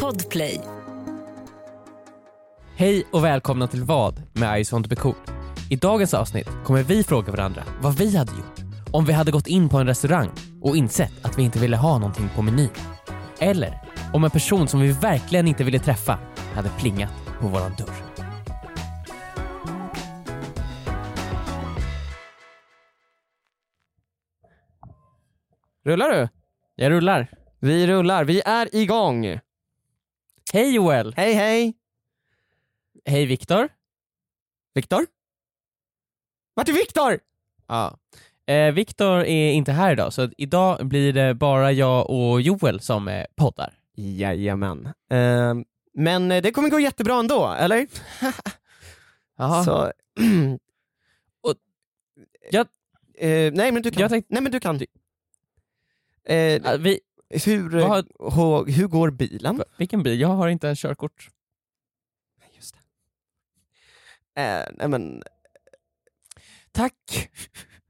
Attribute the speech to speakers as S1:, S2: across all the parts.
S1: Podplay.
S2: Hej och välkomna till Vad med I want to be cool. I dagens avsnitt kommer vi fråga varandra vad vi hade gjort om vi hade gått in på en restaurang och insett att vi inte ville ha någonting på menyn. Eller om en person som vi verkligen inte ville träffa hade plingat på våran dörr.
S3: Rullar du?
S2: Jag rullar.
S3: Vi rullar, vi är igång!
S2: Hej Joel!
S3: Hej hej!
S2: Hej Viktor.
S3: Viktor? Vart är Viktor?
S2: Ja. Eh, Viktor är inte här idag så att idag blir det bara jag och Joel som eh, poddar.
S3: Jajamän. Eh, men det kommer gå jättebra ändå, eller?
S2: Så,
S3: Så,
S2: Och- jag-
S3: Eh, nej men du kan.
S2: Jag tänkte-
S3: Nej men du kan. Eh,
S2: eh, vi,
S3: hur,
S2: vad
S3: eh,
S2: har,
S3: hå- hur går bilen?
S2: vilken bil? Jag har inte en körkort.
S3: Just det. Eh, nej men,
S2: Tack!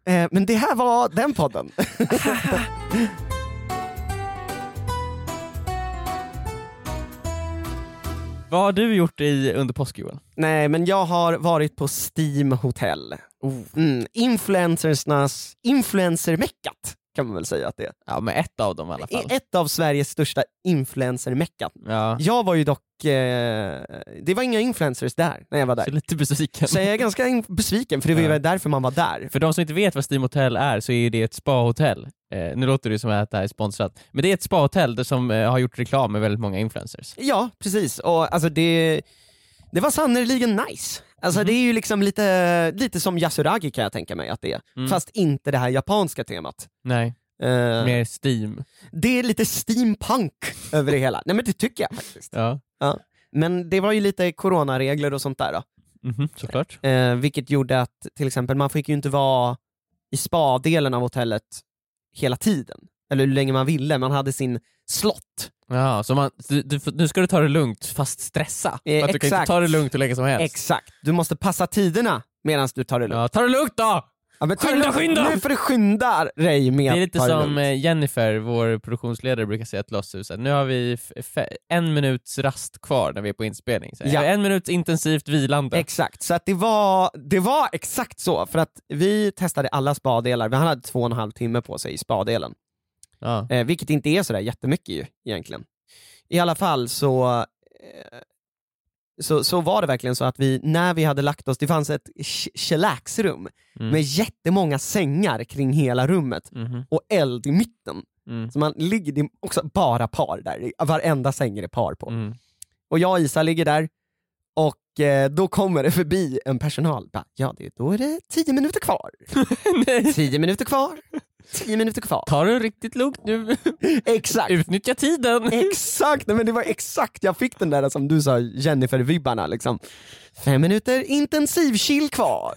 S3: eh, men det här var den podden.
S2: Vad har du gjort i, under påsk Joel?
S3: nej men jag har varit på Steam Hotel.
S2: Oh.
S3: Mm, influencersnas influencermeckat kan man väl säga att det är.
S2: Ja men ett av dem i alla fall.
S3: Ett av Sveriges största influencermeckan.
S2: Ja,
S3: Jag var ju dock, eh, det var inga influencers där när jag var
S2: så
S3: där.
S2: lite besviken.
S3: Så jag är ganska in- besviken för det var ju
S2: Ja.
S3: därför man var där.
S2: För de som inte vet vad Steam Hotel är så är det ett spahotell. Eh, nu låter det som att det här är sponsrat, men det är ett spahotell där som eh, har gjort reklam med väldigt många influencers.
S3: Ja, precis. Och alltså det, det var sannerligen nice. Alltså
S2: Mhm.
S3: det är ju liksom lite, lite som Yasuragi kan jag tänka mig att det är.
S2: Mm.
S3: Fast inte det här japanska temat.
S2: Nej,
S3: Eh,
S2: mer Steam.
S3: det är lite steampunk över det hela. Nej men det tycker jag faktiskt.
S2: Ja.
S3: Men det var ju lite coronaregler och sånt där då.
S2: Mhm, såklart.
S3: Eh, vilket gjorde att till exempel man fick ju inte vara i spa-delen av hotellet hela tiden. Eller hur länge man ville, man hade sin slott.
S2: Ja, så man, du, du, får- nu ska du ta det lugnt fast stressa.
S3: Eh,
S2: För att du kan inte
S3: exakt.
S2: ta det lugnt hur länge som helst.
S3: Exakt. Du måste passa tiderna medan du tar det lugnt.
S2: ja, ta det lugnt då!
S3: Ja, men ta det
S2: Skynda,
S3: lugnt.
S2: skynda!
S3: Nu får du skynda dig med
S2: Det är
S3: att
S2: lite
S3: ta
S2: som
S3: lugnt.
S2: eh, Jennifer, vår produktionsledare, brukar säga till oss. så här, Nu har vi f- fe- en minuts rast kvar när vi är på inspelning. Så här,
S3: Ja.
S2: En minut intensivt vilande.
S3: Exakt, så att det, var, det var exakt så. För att vi testade alla spadelar, vi hade två och en halv timme på sig i spadelen.
S2: ja.
S3: Eh, vilket inte är sådär jättemycket ju, egentligen. I alla fall så, eh, så, så var det verkligen så att vi, när vi hade lagt oss, det fanns ett ch- chillaxrum
S2: Mm.
S3: med jättemånga sängar kring hela rummet
S2: Mhm,
S3: och eld i mitten.
S2: mm,
S3: Så man ligger, det är också bara par där, varenda säng är det par på.
S2: mm.
S3: Och jag och Isa ligger där och eh, då kommer det förbi en personal. Bara, ja, det, då är det tio minuter kvar.
S2: Nej.
S3: Tio minuter kvar. Tio minuter kvar.
S2: Ta det riktigt lugnt nu.
S3: Exakt.
S2: Utnyttja tiden.
S3: Exakt, nej, men det var exakt, jag fick den där som du sa Jennifer-vibbarna liksom. Fem minuter intensiv chill kvar.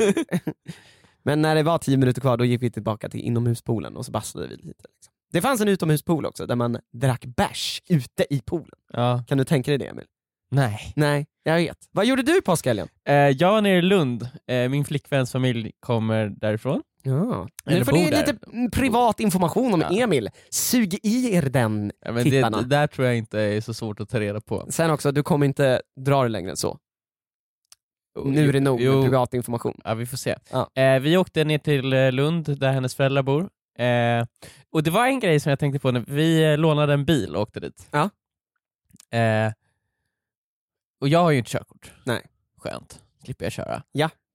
S3: men när det var tio minuter kvar då gick vi tillbaka till inomhuspoolen och så bastade vi lite. Liksom. Det fanns en utomhuspool också där man drack bärs ute i poolen.
S2: Ja.
S3: Kan du tänka dig det Emil?
S2: Nej.
S3: Nej, jag vet. Vad gjorde du i påskhelgen?
S2: Eh, jag var nere i Lund. Eh, min flickväns familj kommer därifrån.
S3: Ja.
S2: Eller
S3: Nu får ni
S2: bor där.
S3: lite mm, privat information om
S2: Ja.
S3: Emil. Sug i er den.
S2: Ja, men det,
S3: Tittarna.
S2: det där tror jag inte är så svårt att ta reda på.
S3: Sen också, du kommer inte dra det längre än så. Nu är det nog med
S2: Jo.
S3: privat information.
S2: Ja, vi får se.
S3: Ja.
S2: Eh, vi åkte ner till eh, Lund där hennes föräldrar bor. Eh, och det var en grej som jag tänkte på när vi eh, lånade en bil och åkte dit.
S3: Ja.
S2: Eh, och jag har ju inte körkort.
S3: Nej.
S2: Skönt. slipper jag köra.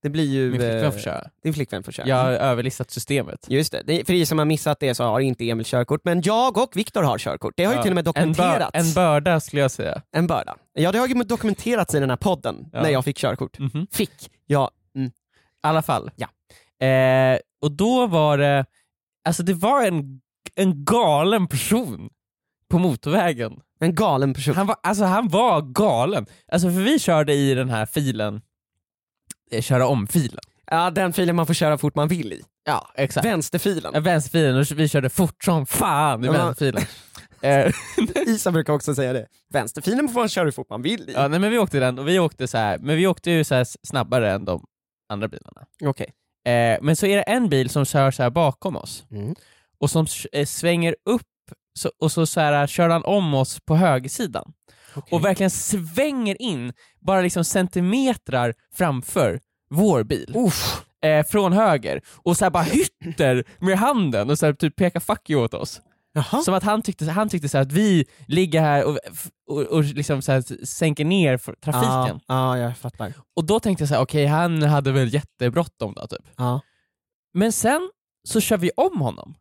S3: Det blir ju...
S2: Min flickvän får
S3: eh,
S2: köra.
S3: Din flickvän får köra.
S2: Jag har överlistat systemet.
S3: Just det. det, för er som har missat det så har inte Emil körkort, men jag och Viktor har körkort. Det har ju
S2: Ja.
S3: till och med
S2: En, bör-
S3: dokumenterats.
S2: en börda skulle jag säga.
S3: En börda. Ja det har ju dokumenterats i den här podden,
S2: Ja.
S3: när jag fick körkort.
S2: Mhm. I
S3: Fick? Ja.
S2: alla fall.
S3: Mm. Ja.
S2: Eh, och då var det, alltså det var en, en galen person på motorvägen.
S3: En galen person.
S2: Han var, alltså han var galen. Alltså för vi körde i den här filen, eh, köra om-filen.
S3: Ja, den filen man får köra fort man vill i.
S2: Ja, exakt.
S3: Vänsterfilen.
S2: Vänsterfilen, och vi körde fort som fan i
S3: Ja, men-
S2: vänsterfilen. Eh,
S3: Isa brukar också säga det. Vänsterfilen får man köra hur fort man vill i.
S2: ja, nej, men vi åkte den, och vi åkte så här, men vi åkte ju så här snabbare än de andra bilarna.
S3: Okej.
S2: Eh, men så är det en bil som kör så här bakom oss,
S3: Mm.
S2: och som s- eh, svänger upp så, och så, så här, kör han om oss på högersidan och verkligen svänger in, bara liksom centimetrar framför vår bil.
S3: Uff.
S2: Eh, från höger. Och så här bara hytter med handen och så här typ pekar 'fuck you' åt oss.
S3: Jaha.
S2: Som att han tyckte, han tyckte så här att vi ligger här och, och, och liksom så här sänker ner för trafiken.
S3: Ja, ja, jag fattar.
S2: Och då tänkte jag så här: okej han hade väl jättebråttom då typ.
S3: Ja.
S2: Men sen så kör vi om honom.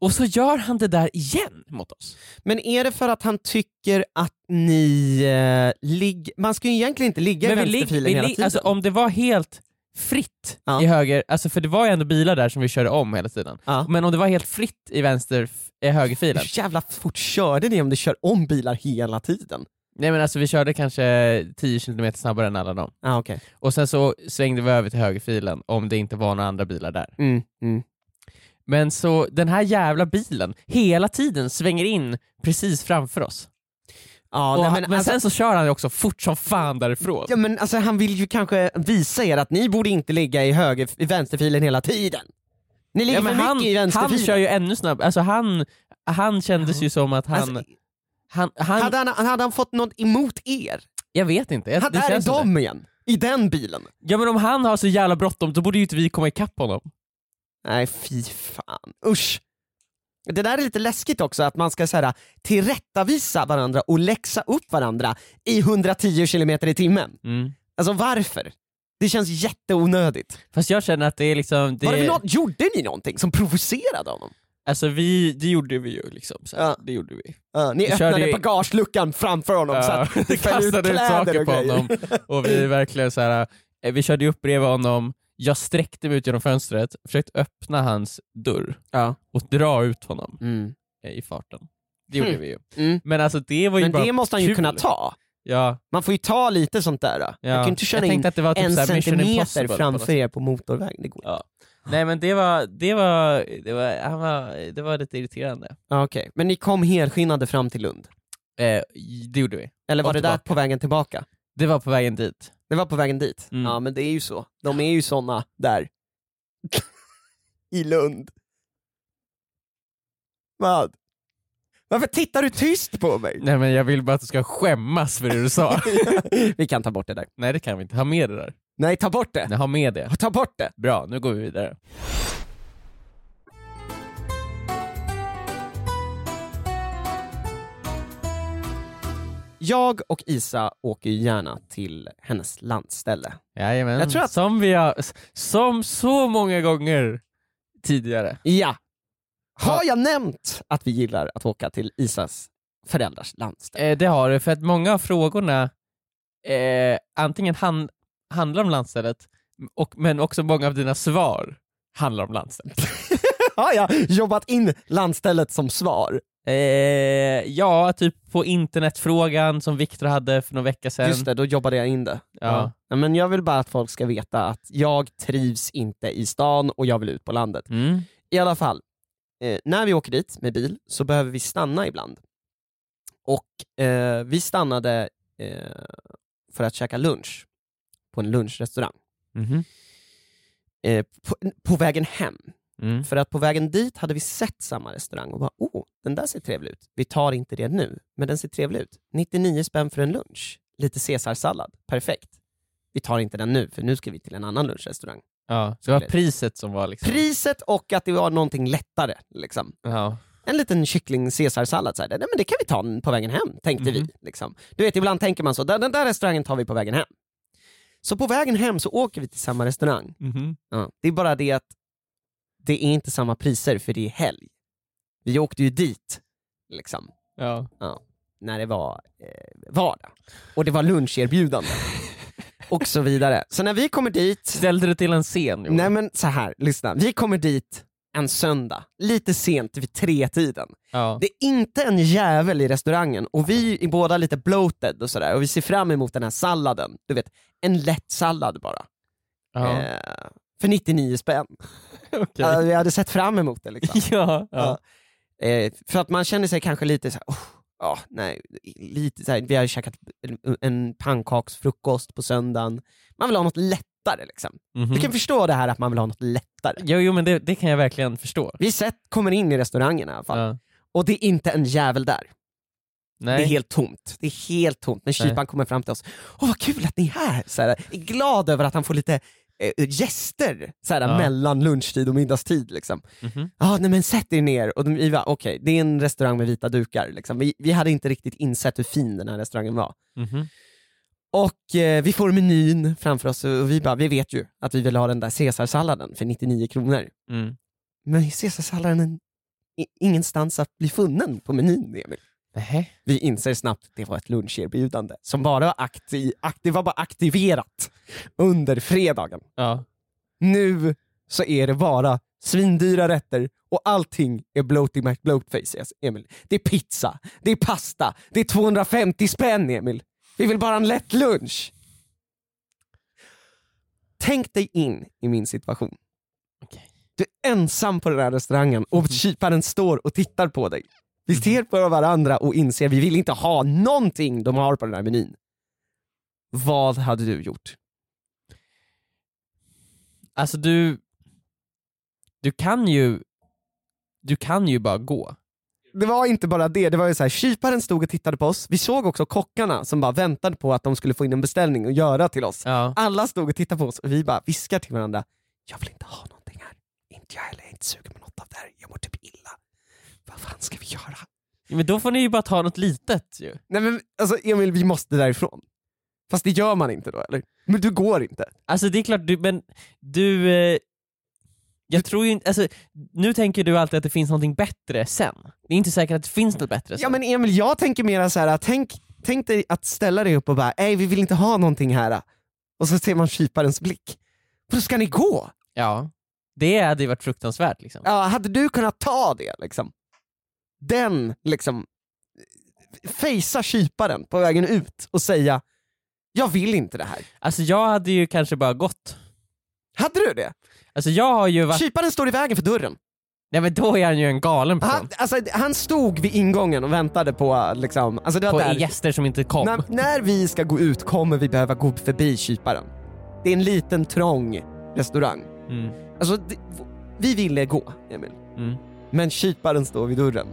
S2: Och så gör han det där igen mot oss.
S3: Men är det för att han tycker att ni eh, ligger... Man ska ju egentligen inte ligga i
S2: vi lig-
S3: vänsterfilen
S2: vi
S3: hela
S2: lig-
S3: tiden.
S2: alltså, om det var helt fritt
S3: Ja.
S2: i höger, alltså för det var ju ändå bilar där som vi körde om hela tiden.
S3: Ja.
S2: Men om det var helt fritt i vänster, i högerfilen.
S3: Hur jävla fort körde ni om du kör om bilar hela tiden?
S2: Nej men alltså vi körde kanske 10 km snabbare än alla dem.
S3: Ah, okay.
S2: Och sen så svängde vi över till högerfilen om det inte var några andra bilar där.
S3: mm, mm.
S2: Men så den här jävla bilen, hela tiden svänger in precis framför oss.
S3: Ja,
S2: och,
S3: nej,
S2: men
S3: men, alltså,
S2: sen så kör han ju också fort som fan därifrån.
S3: ja, men alltså, han vill ju kanske visa er att ni borde inte ligga i, höger, i vänsterfilen hela tiden. Ni ligger
S2: Ja, men
S3: för
S2: han,
S3: mycket i
S2: han
S3: vänsterfilen.
S2: kör ju ännu snabbare, alltså han, han kändes ju som att han...
S3: Alltså,
S2: han, han
S3: hade, han, hade han fått något emot er?
S2: jag vet inte. Jag,
S3: Han,
S2: det
S3: där är
S2: känns som det.
S3: de igen, i den bilen.
S2: Ja men om han har så jävla bråttom då borde ju inte vi komma ikapp honom.
S3: Nej fy fan, usch. Det där är lite läskigt också, att man ska så här, tillrättavisa varandra och läxa upp varandra i 110 km i timmen. Alltså varför? Det känns jätteonödigt.
S2: Fast jag känner att det är liksom... Det,
S3: Var det för något, gjorde ni någonting som provocerade honom?
S2: Alltså vi, det gjorde vi ju liksom. Så här,
S3: Ja.
S2: Det gjorde vi.
S3: Ja, ni
S2: Vi
S3: öppnade
S2: körde ju-
S3: bagageluckan framför honom så
S2: Ja,
S3: att det föll ut
S2: kastade ut
S3: kläder
S2: saker
S3: och
S2: på
S3: grejer.
S2: honom och vi verkligen så här, eh, vi körde ju upp bredvid honom, jag sträckte mig ut genom fönstret, försökte öppna hans dörr
S3: Ja.
S2: och dra ut honom
S3: Mm.
S2: eh, i farten. Det gjorde
S3: Hmm.
S2: vi ju.
S3: Mm.
S2: Men alltså det var ju
S3: Men
S2: bara
S3: det måste han ju
S2: kul.
S3: kunna ta.
S2: Ja,
S3: Man får ju ta lite sånt där. Då.
S2: ja.
S3: Man kan ju inte köra
S2: jag
S3: in
S2: tänkte att det var typ
S3: en
S2: så här Mission
S3: centimeter
S2: Impossible på något
S3: framför
S2: sätt.
S3: er på motorvägen. Det går.
S2: Ja. Nej men det var, det var, det var, han var, det var lite irriterande.
S3: Ja. Okej, Men ni kom helskinnade fram till Lund?
S2: Eh, det gjorde vi.
S3: Eller var
S2: Och
S3: det där
S2: tillbaka.
S3: på vägen tillbaka?
S2: Det var på vägen dit.
S3: Det var på vägen dit?
S2: Mm.
S3: Ja men det är ju så. De är ju såna där. I Lund. Vad? Varför tittar du tyst på mig?
S2: Nej men jag vill bara att du ska skämmas för det du sa.
S3: Vi kan ta bort det där.
S2: Nej det kan vi inte, ha med det där.
S3: Nej, ta bort det!
S2: Nej, ha med det.
S3: Ta bort det!
S2: Bra, nu går vi vidare.
S3: Jag och Isa åker ju gärna till hennes landställe.
S2: Jajamän.
S3: Jag tror att-
S2: som, vi har, som så många gånger tidigare.
S3: Ja! Har jag nämnt att vi gillar att åka till Isas föräldrars landställe?
S2: Eh, det har du, för att många av frågorna eh, antingen han, handlar om landstället, och, men också många av dina svar handlar om landstället.
S3: Har jag jobbat in landstället som svar?
S2: Eh, ja, typ på internetfrågan som Viktor hade för någon vecka sedan.
S3: Just det, då jobbade jag in det.
S2: Ja.
S3: Ja, Men jag vill bara att folk ska veta att jag trivs inte i stan och jag vill ut på landet.
S2: Mm.
S3: I alla fall, eh, när vi åker dit med bil så behöver vi stanna ibland. Och eh, vi stannade eh, för att käka lunch på en lunchrestaurang.
S2: Mhm.
S3: Eh, på, på vägen hem.
S2: Mm.
S3: För att på vägen dit hade vi sett samma restaurang och bara åh, den där ser trevlig ut. Vi tar inte det nu, men den ser trevlig ut. 99 spänn för en lunch. Lite caesarsallad. Perfekt. Vi tar inte den nu, för nu ska vi till en annan lunchrestaurang.
S2: Ja, så det var priset som var liksom...
S3: Priset och att det var någonting lättare. Liksom.
S2: ja.
S3: en liten kyckling caesarsallad, så här, nej, men det kan vi ta på vägen hem, tänkte
S2: Mhm.
S3: vi. Liksom. Du vet, ibland tänker man så, den, den där restaurangen tar vi på vägen hem. Så på vägen hem så åker vi till samma restaurang.
S2: Mhm.
S3: Ja. Det är bara det att det är inte samma priser för det är helg. Vi åkte ju dit liksom,
S2: ja.
S3: när det var eh, vardag och det var luncherbjudande och så vidare. Så när vi kommer dit,
S2: Ställde du till en scen? Joel?
S3: nej men så här, lyssna. Vi kommer dit en söndag, lite sent vid tre tiden
S2: ja.
S3: det är inte en jävel i restaurangen och vi är båda lite bloated och sådär och vi ser fram emot den här salladen. Du vet, en lätt sallad bara.
S2: ja.
S3: Eh, för 99 spänn.
S2: Okej.
S3: Eh, vi hade sett fram emot det liksom.
S2: ja, ja.
S3: Ja. Eh, för att man känner sig kanske lite såhär, oh, ja, nej, lite så här, vi har ju käkat en, en pannkaksfrukost på söndagen. Man vill ha något lättare liksom.
S2: Mhm.
S3: Du kan förstå det här att man vill ha något lättare.
S2: Jo, jo men det, det kan jag verkligen förstå.
S3: Vi sett, kommer in i restaurangen i alla fall.
S2: Ja.
S3: Och det är inte en jävel där.
S2: Nej.
S3: Det är helt tomt. Det är helt tomt. Men
S2: Nej.
S3: kyparen kommer fram till oss. Åh vad kul att ni är här! Så här är glad över att han får lite eh, gäster så här,
S2: Ja.
S3: mellan lunchtid och middagstid. Liksom.
S2: Mhm.
S3: Ja, nej men sätt er ner. Och de, vi bara, okej, det är en restaurang med vita dukar. Liksom. Vi, vi hade inte riktigt insett hur fin den här restaurangen var.
S2: Mhm.
S3: Och eh, vi får menyn framför oss och vi bara, vi vet ju att vi vill ha den där caesarsalladen för 99 kronor.
S2: Mm.
S3: Men caesarsalladen är ingenstans att bli funnen på menyn, Emil.
S2: Nähä.
S3: Vi inser snabbt att det var ett luncherbjudande som bara var, akti- ak- det var bara aktiverat under fredagen.
S2: Ja.
S3: Nu så är det bara svindyra rätter och allting är bloaty McBloatface, yes, Emil. Det är pizza, det är pasta, det är 250 spänn, Emil. Vi vill bara ha en lätt lunch. Tänk dig in i min situation.
S2: Okej.
S3: Du är ensam på den här restaurangen och kyparen står och tittar på dig. Vi ser på varandra och inser vi vill inte ha någonting de har på den här menyn. Vad hade du gjort?
S2: Alltså du... Du kan ju... Du kan ju bara gå.
S3: det var inte bara det, det var ju så här, kyparen stod och tittade på oss, vi såg också kockarna som bara väntade på att de skulle få in en beställning och göra till oss.
S2: Ja.
S3: Alla stod och tittade på oss och vi bara viskar till varandra, jag vill inte ha någonting här, inte jag heller, jag är inte sugen på något av det här, jag mår typ illa. Vad fan ska vi göra?
S2: Men då får ni ju bara ta något litet ju.
S3: Nej men alltså Emil, vi måste därifrån. Fast det gör man inte då eller? Men du går inte.
S2: Alltså det är klart, du, men du... Eh, jag tror ju inte... Alltså, nu tänker du alltid att det finns någonting bättre sen. Det är inte säkert att det finns något bättre sen.
S3: Ja men Emil, jag tänker mera så här, tänk, tänk dig att ställa dig upp och bara, nej vi vill inte ha någonting här. Och så ser man kyparens blick. Då ska ni gå?
S2: Ja. Det hade ju varit fruktansvärt liksom.
S3: Ja, hade du kunnat ta det liksom? Den liksom, fejsa kyparen på vägen ut och säga jag vill inte det här.
S2: Alltså jag hade ju kanske bara gått.
S3: Hade du det?
S2: Alltså jag har ju varit...
S3: Kyparen står i vägen för dörren.
S2: Nej men då är han ju en galen person.
S3: Han, alltså, han stod vid ingången och väntade på liksom, alltså det
S2: På
S3: var
S2: E
S3: där.
S2: gäster som inte kom.
S3: När, när vi ska gå ut kommer vi behöva gå förbi kyparen. Det är en liten trång restaurang.
S2: Mm.
S3: Alltså, det, vi ville gå, Emil.
S2: Mm.
S3: Men kyparen står vid dörren.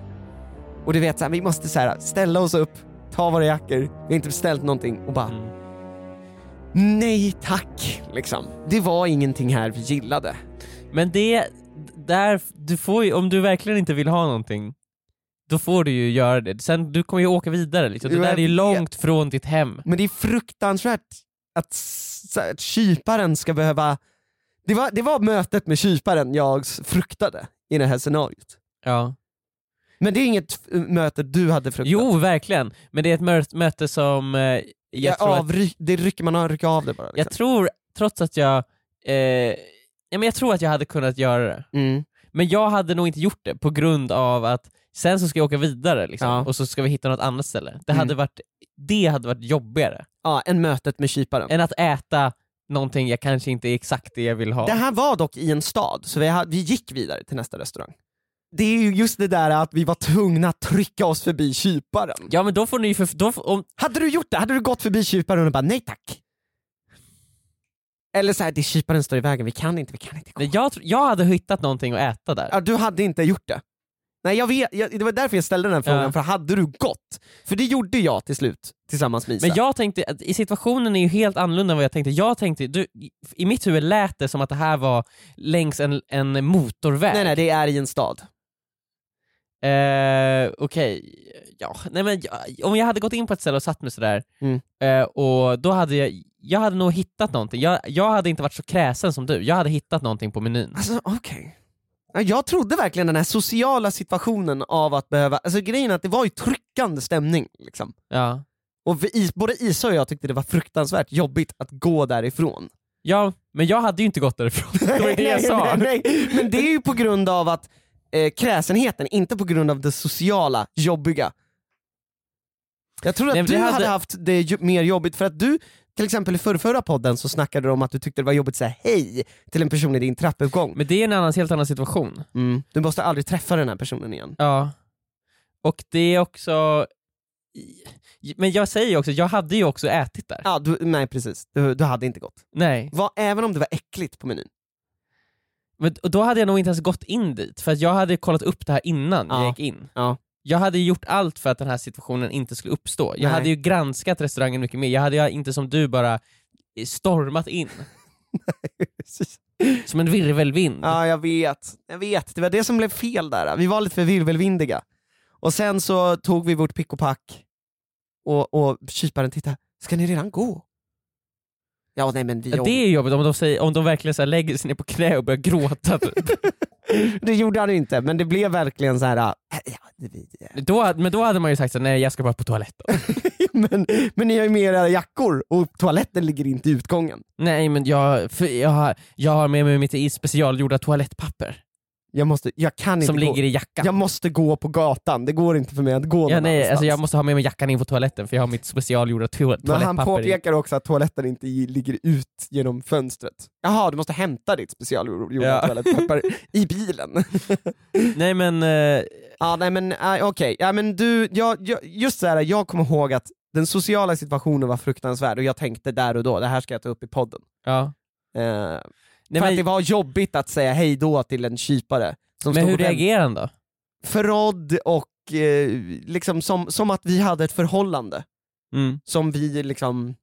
S3: Och du vet, så här, vi måste så här, ställa oss upp, ta våra jackor, vi har inte beställt någonting och bara
S2: Mm.
S3: nej tack. Liksom. Det var ingenting här vi gillade.
S2: Men det, där, du får ju, om du verkligen inte vill ha någonting, då får du ju göra det. Sen, du kommer ju åka vidare liksom. Det
S3: Jo,
S2: där
S3: jag
S2: är ju
S3: vet.
S2: långt från ditt hem.
S3: Men det är fruktansvärt att, s- så här, att kyparen ska behöva... Det var, det var mötet med kyparen jag s- fruktade i det här scenariot.
S2: Ja.
S3: Men det är inget f- möte du hade fruktat?
S2: Jo, verkligen. Men det är ett mö- möte som eh, jag,
S3: jag
S2: tror att,
S3: avry- det rycker man rycker av det bara. Liksom.
S2: jag tror, trots att jag, eh, ja, men jag tror att jag hade kunnat göra det.
S3: Mm.
S2: Men jag hade nog inte gjort det på grund av att sen så ska jag åka vidare liksom,
S3: Ja.
S2: och så ska vi hitta något annat ställe. Det
S3: Mm.
S2: hade varit, det hade varit jobbigare
S3: Ja, en mötet med kyparen.
S2: än att äta någonting jag kanske inte är exakt det jag vill ha.
S3: Det här var dock i en stad, så vi, ha- vi gick vidare till nästa restaurang. Det är ju just det där att vi var tvungna att trycka oss förbi kyparen.
S2: Ja men då får ni ju för... Då, f- om,
S3: Hade du gjort det? Hade du gått förbi kyparen och bara nej tack? Eller så här, det är kyparen står i vägen, vi kan inte, vi kan inte gå.
S2: nej, jag, tr- jag hade hittat någonting att äta där.
S3: Ja, du hade inte gjort det. Nej, jag vet, jag, det var därför jag ställde den här frågan,
S2: Ja.
S3: för hade du gått? För det gjorde jag till slut, tillsammans med Isak.
S2: Men jag tänkte, att i situationen är ju helt annorlunda än vad jag tänkte. Jag tänkte, du, i mitt huvud lät det som att det här var längs en, en motorväg.
S3: Nej nej, det är i en stad.
S2: Eh, Okej, ja. Nej, men jag, om jag hade gått in på ett ställe och satt mig sådär,
S3: Mm.
S2: eh, och då hade jag, jag hade nog hittat någonting. Jag, jag hade inte varit så kräsen som du, jag hade hittat någonting på menyn.
S3: Alltså okej. Ja, Jag trodde verkligen den här sociala situationen av att behöva, alltså grejen är att det var ju tryckande stämning liksom.
S2: Ja,
S3: Och vi, Is- både Isa och jag tyckte det var fruktansvärt jobbigt att gå därifrån.
S2: ja men jag hade ju inte gått därifrån. det var ju det jag
S3: Nej,
S2: sa.
S3: nej, nej. Men det är ju på grund av att eh, kräsenheten, inte på grund av det sociala jobbiga. Jag tror att
S2: Nej, men
S3: du
S2: det
S3: hade...
S2: hade-
S3: haft det ju mer jobbigt för att du, till exempel i förrförra podden så snackade du om att du tyckte det var jobbigt att säga hej till en person i din trappuppgång.
S2: Men det är en annan, helt annan situation.
S3: Mm. Du måste aldrig träffa den här personen igen.
S2: Ja. Och det är också... Men jag säger ju också, jag hade ju också ätit där.
S3: Ja, du, nej precis, du, du hade inte gått.
S2: Nej.
S3: Vad- även om det var äckligt på menyn.
S2: Men, och då hade jag nog inte ens gått in dit, för att jag hade kollat upp det här innan
S3: Ja.
S2: jag gick in.
S3: Ja.
S2: jag hade ju gjort allt för att den här situationen inte skulle uppstå. Jag
S3: Nej.
S2: hade ju granskat restaurangen mycket mer. Jag hade ju inte som du bara eh, stormat in som en virvelvind.
S3: Ja, jag vet. Jag vet. Det var det som blev fel där. Vi var lite för virvelvindiga. Och sen så tog vi vårt pick och pack och, och kyparen tittade. Ska ni redan gå? Ja, nej men vi...
S2: Ja, Det är jobbigt om de, säger, om de verkligen så här lägger sig ner på knä och börjar gråta. Typ.
S3: det gjorde han ju inte, men det blev verkligen så här... äh, Ja, det vi,
S2: då, hade- men då hade man ju sagt så här, nej jag ska bara på toaletten.
S3: men, men ni har ju med era jackor och toaletten ligger inte i utgången.
S2: nej men jag, för jag, har, jag har med mig mitt i- specialgjorda toalettpapper
S3: Jag, måste, jag kan inte
S2: som
S3: gå.
S2: ligger i jackan.
S3: Jag måste gå på gatan, det går inte för mig att gå
S2: Ja,
S3: någon
S2: nej,
S3: annanstans.
S2: alltså jag måste ha med mig jackan in på toaletten för jag har mitt specialgjorda to-
S3: Men han
S2: toalettpapper. i.
S3: påpekar också att toaletten inte i- ligger ut genom fönstret. Jaha, du måste hämta ditt specialgjorda
S2: Ja.
S3: toalettpapper i bilen.
S2: Nej men, eh,
S3: ja, nej men äh, okej. Ja, men du, jag, jag, just så här, jag kommer ihåg att den sociala situationen var fruktansvärd och jag tänkte där och då, det här ska jag ta upp i podden.
S2: ja.
S3: Eh,
S2: Nej,
S3: för att
S2: men,
S3: det var jobbigt att säga hej då till en kypare. Som
S2: men
S3: stod
S2: hur
S3: och vänt-
S2: reagerar han då?
S3: Förrådd och eh, liksom som, som att vi hade ett förhållande
S2: Mm.
S3: som vi liksom...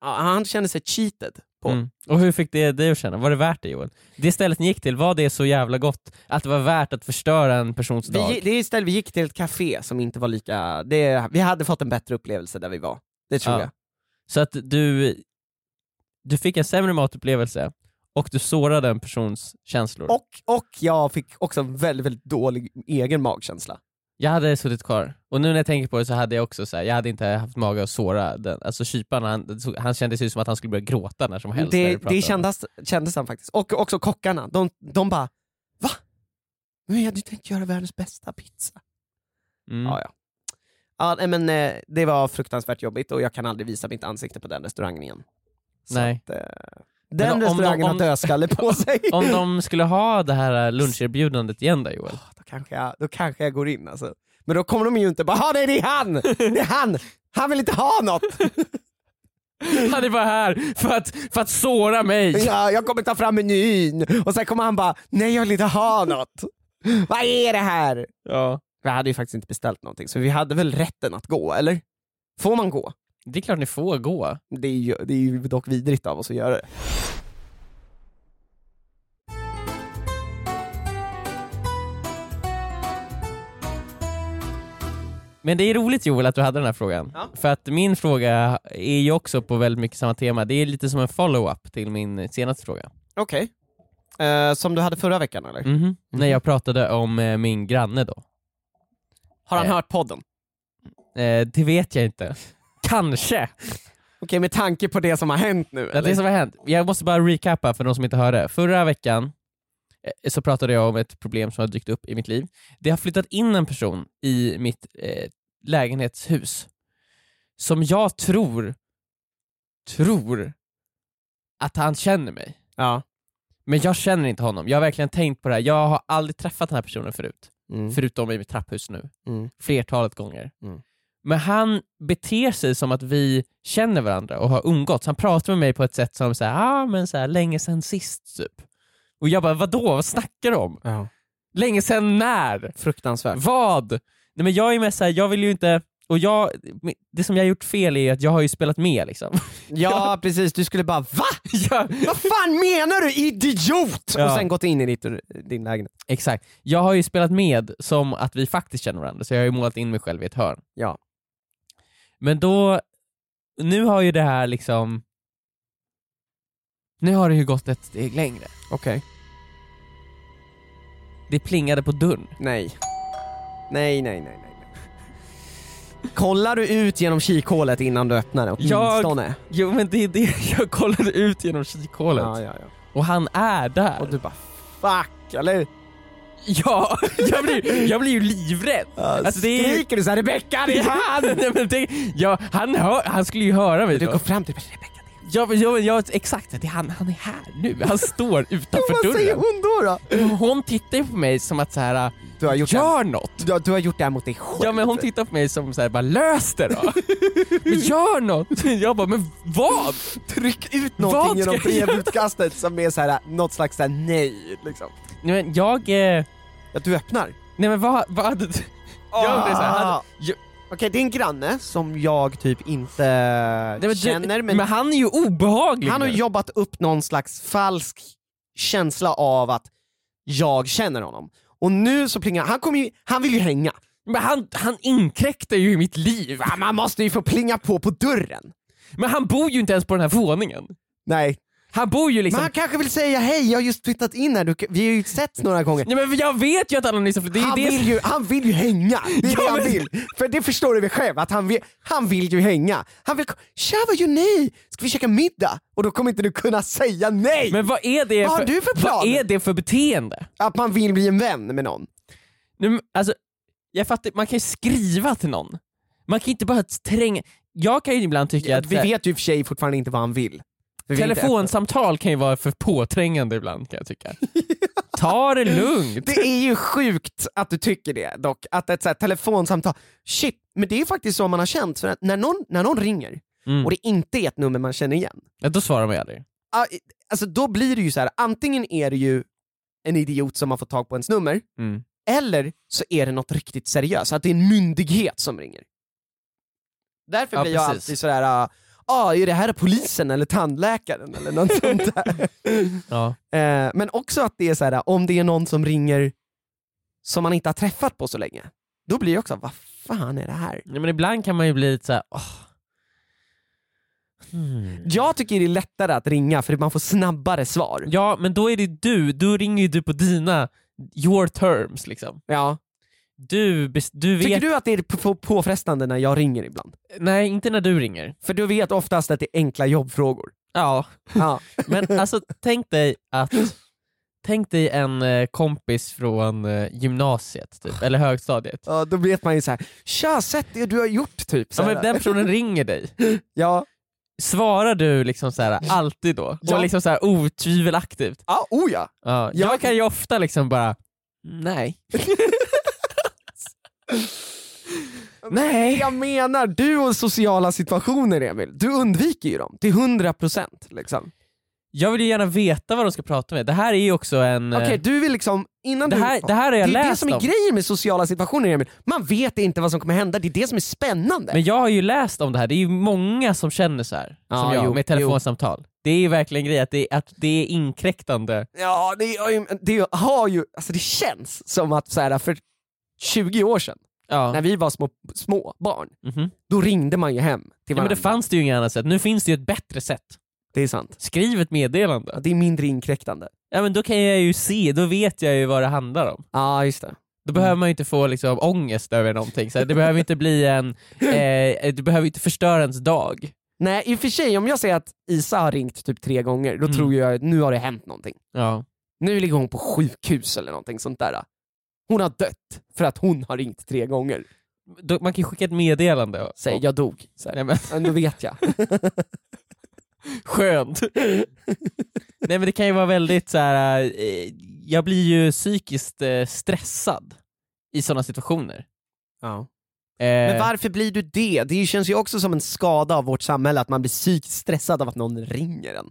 S3: Ja, han kände sig cheated på.
S2: Mm. Och hur fick det dig att känna? Var det värt det Joel? Det stället ni gick till, var det så jävla gott att det var värt att förstöra en persons dag?
S3: Vi, det är istället, vi gick till ett café som inte var lika... Det, vi hade fått en bättre upplevelse där vi var. Det tror
S2: Ja.
S3: jag.
S2: Så att du, du fick en sämre matupplevelse och du sårade en persons känslor.
S3: Och, och jag fick också en väldigt, väldigt dålig egen magkänsla.
S2: Jag hade suttit kvar, och nu när jag tänker på det så hade jag också så här, jag hade inte haft mage att såra den. Alltså kyparen, han, han kändes ju som att han skulle börja gråta när som helst. när
S3: Det,
S2: du pratade
S3: det
S2: om
S3: kändes, kändes han faktiskt. Och också kockarna, de, de bara Va? Men jag hade ju tänkt göra världens bästa pizza.
S2: Mm.
S3: Ja, ja. Ja, nej, men, eh, det var fruktansvärt jobbigt och jag kan aldrig visa mitt ansikte på den restaurangen igen. Så
S2: Nej.
S3: Att, eh,
S2: om-
S3: den
S2: om de-
S3: restaurangen
S2: om-
S3: har dödskalle på sig.
S2: Om de skulle ha det här eh, luncherbjudandet igen då Joel?
S3: då kanske jag, då kanske jag går in alltså. Men då kommer de ju inte bara, "Ah, nej det är han! Det är han! Han vill inte ha något!
S2: Han är bara här för att, för att såra mig!
S3: Ja, jag kommer ta fram menyn! Och sen kommer han bara, nej jag vill inte ha något! Vad är det här?
S2: Ja.
S3: Vi hade ju faktiskt inte beställt någonting, så vi hade väl rätten att gå, eller? Får man gå?
S2: Det är klart ni får gå.
S3: Det är ju, det är ju dock vidrigt av oss att göra det.
S2: Men det är roligt Joel att du hade den här frågan.
S3: Ja.
S2: För att min fråga är ju också på väldigt mycket samma tema. Det är lite som en follow-up till min senaste fråga.
S3: Okej. Eh, som du hade förra veckan eller?
S2: Mhm. När jag pratade om eh, min granne då.
S3: Har han
S2: Eh.
S3: hört podden?
S2: Eh, det vet jag inte. Kanske.
S3: Okej, med tanke på det som har hänt nu
S2: Ja,
S3: eller?
S2: det som har hänt. Jag måste bara recappa för de som inte hörde. Förra veckan eh, så pratade jag om ett problem som har dykt upp i mitt liv. Det har flyttat in en person i mitt eh, lägenhetshus som jag tror, tror att han känner mig.
S3: Ja.
S2: Men jag känner inte honom. Jag har verkligen tänkt på det här. Jag har aldrig träffat den här personen förut,
S3: Mm.
S2: förutom i mitt trapphus nu
S3: Mm.
S2: flertalet gånger.
S3: Mm.
S2: Men han beter sig som att vi känner varandra och har umgåtts. Han pratar med mig på ett sätt som såhär, ah men såhär, länge sen sist typ. Och jag bara, vadå, vad snackar du om?
S3: Ja.
S2: Länge sen när?
S3: Fruktansvärt.
S2: Vad? Nej men jag är med såhär, jag vill ju inte, och jag, det som jag har gjort fel är att jag har ju spelat med liksom.
S3: Ja precis, du skulle bara VA?
S2: jag,
S3: Vad fan menar du idiot?
S2: Ja.
S3: Och sen gått in i ditt, din lägenhet.
S2: Exakt. Jag har ju spelat med som att vi faktiskt känner varandra, så jag har ju målat in mig själv i ett hörn.
S3: Ja.
S2: Men då, nu har ju det här liksom, nu har det ju gått ett steg längre.
S3: Okej.
S2: Det plingade på dörren.
S3: Nej. Nej, nej, nej, nej. Kollar du ut genom kikhålet innan du öppnar det? Åtminstone.
S2: Jo men det är det, jag kollade ut genom kikhålet
S3: Ja, ja, ja.
S2: och han är där.
S3: Och du bara fuck, eller?
S2: Ja, jag blir, jag blir ju livrädd. Alltså, det är-
S3: Skriker du såhär Rebecka det är här!
S2: Nej, men det, ja, han, hör, han skulle ju höra mig
S3: Du
S2: då.
S3: går fram till Rebecka det är
S2: Ja, men, ja, men, ja, exakt, det är han, han är här nu. Han står utanför
S3: Vad säger
S2: dörren.
S3: hon då? då?
S2: Hon tittar ju på mig som att så här, äh,
S3: Du, har gjort det här,
S2: gör något!
S3: du, har- du har gjort det här mot dig själv.
S2: Ja men hon tittar på mig som så här, bara lös det då! Men gör något! Jag bara, men vad?
S3: Tryck ut
S2: Vad
S3: någonting genom
S2: ska jag göra?
S3: brevutkastet som är såhär, något slags såhär, nej. Liksom.
S2: Nej men jag, eh,
S3: Att du öppnar.
S2: nej men vad, vad hade du... Jag undrar så här, hade,
S3: Ah. Okej, det är en granne som jag typ inte
S2: nej, men, du-
S3: känner, men,
S2: men han är ju obehaglig.
S3: han har
S2: nu.
S3: jobbat upp någon slags falsk känsla av att jag känner honom. Och nu så plingar han, kommer ju, han vill ju hänga.
S2: Men han, han inkräktar ju i mitt liv.
S3: Va, Man måste ju få plinga på på dörren.
S2: Men han bor ju inte ens på den här våningen.
S3: Nej.
S2: Han bor ju
S3: Men
S2: liksom...
S3: han kanske vill säga hej, jag har just flyttat in här, du, vi har ju setts några gånger.
S2: Ja, men jag vet ju att han har nyss... Det är
S3: Han
S2: det
S3: vill, ju, han vill ju hänga, det är
S2: Ja,
S3: det han
S2: men-
S3: vill. För det förstår du väl själv, att han vill, han vill ju hänga. Han vill, tja vad gör ni? Ska vi käka middag? Och då kommer inte du kunna säga nej!
S2: Men vad är det
S3: Vad har
S2: för,
S3: du för plan?
S2: Vad är det för beteende?
S3: Att man vill bli en vän med någon.
S2: Nu, men, alltså, jag fattar, man kan ju skriva till någon. Man kan inte bara tränga... Jag kan ju ibland tycka att
S3: vi
S2: så här,
S3: vet ju i och för sig fortfarande inte vad han vill. Vi vet inte efter.
S2: telefonsamtal kan ju vara för påträngande ibland kan jag tycka. Ta det lugnt.
S3: Det är ju sjukt att du tycker det dock, att ett så här telefonsamtal, shit, men det är faktiskt så man har känt, för att när någon, när någon ringer
S2: Mm.
S3: och det inte är ett nummer man känner igen,
S2: Ja, då svarar man ju aldrig.
S3: ah, i- alltså då blir det ju så här. antingen är det ju en idiot som har fått tag på ens nummer,
S2: Mm.
S3: eller så är det något riktigt seriöst, att det är en myndighet som ringer. Därför
S2: Ja,
S3: blir jag
S2: precis.
S3: alltid sådär, ah, ah, är det här polisen eller tandläkaren eller något sånt där.
S2: Ja.
S3: Eh, men också att det är så här, om det är någon som ringer som man inte har träffat på så länge, då blir jag också, vad fan är det här?
S2: Ja, men ibland kan man ju bli lite såhär... åh. Hmm.
S3: Jag tycker det är lättare att ringa för man får snabbare svar.
S2: Ja, men då är det du. Då ringer ju du på dina... Your terms liksom.
S3: Ja.
S2: Du, bes- du vet...
S3: Tycker du att det är på- påfrestande när jag ringer ibland?
S2: Nej, inte när du ringer.
S3: För du vet oftast att det är enkla jobbfrågor.
S2: Ja.
S3: Ja.
S2: Men alltså tänk dig att Tänk dig en eh, kompis från eh, gymnasiet, typ, eller högstadiet.
S3: Ja, då vet man ju så här, tja sett det du har gjort typ. Så
S2: Ja,
S3: här.
S2: men den personen ringer dig.
S3: ja.
S2: Svarar du liksom så här, alltid då?
S3: Ja.
S2: Och liksom så här, otvivelaktigt?
S3: ja, oh ja.
S2: Ja. Jag
S3: Jag-
S2: kan ju ofta liksom bara, nej. nej.
S3: Jag menar, du och sociala situationer Emil, du undviker ju dem till 100% liksom.
S2: Jag vill ju gärna veta vad de ska prata med. Det här är ju också en... eh,
S3: Okej, du vill liksom, innan
S2: det,
S3: du...
S2: här, det här har jag
S3: det är det
S2: läst
S3: som är
S2: om.
S3: grejen med sociala situationer Emil. Man vet inte vad som kommer hända, det är det som är spännande.
S2: Men jag har ju läst om det här, det är ju många som känner så här
S3: Ja,
S2: som jag,
S3: jo,
S2: med telefonsamtal. Det är ju verkligen grej att det, att det är inkräktande.
S3: Ja, det, har ju- det har ju, alltså det känns som att så här, för 20 år sedan,
S2: Ja.
S3: när vi var små, små barn,
S2: Mhm.
S3: då ringde man ju hem till
S2: ja, men
S3: varandra.
S2: det fanns det ju inget annat sätt. Nu finns det ju ett bättre sätt.
S3: det är sant.
S2: Skriv ett
S3: Ja,
S2: meddelande.
S3: det är mindre inkräktande.
S2: Ja men då kan jag ju se, då vet jag ju vad det handlar om.
S3: Ja, just det.
S2: Då
S3: Mm.
S2: behöver man ju inte få liksom, ångest över någonting. Så här, det behöver inte bli en, eh, det behöver inte förstöra ens dag.
S3: Nej, i och för sig om jag säger att Isa har ringt typ tre gånger, då
S2: Mm.
S3: tror jag att nu har det hänt någonting.
S2: Ja.
S3: Nu ligger hon på sjukhus eller någonting sånt där. Hon har dött för att hon har ringt tre gånger.
S2: Då, man kan ju skicka ett meddelande. och-
S3: Säg, jag dog. Så här.
S2: Nej, men,
S3: Ja, Då vet jag.
S2: skönt. Nej men det kan ju vara väldigt så här. eh, jag blir ju psykiskt eh, stressad i sådana situationer. Eh,
S3: Men varför blir du det? Det känns ju också som en skada av vårt samhälle att man blir psykiskt stressad av att någon ringer en.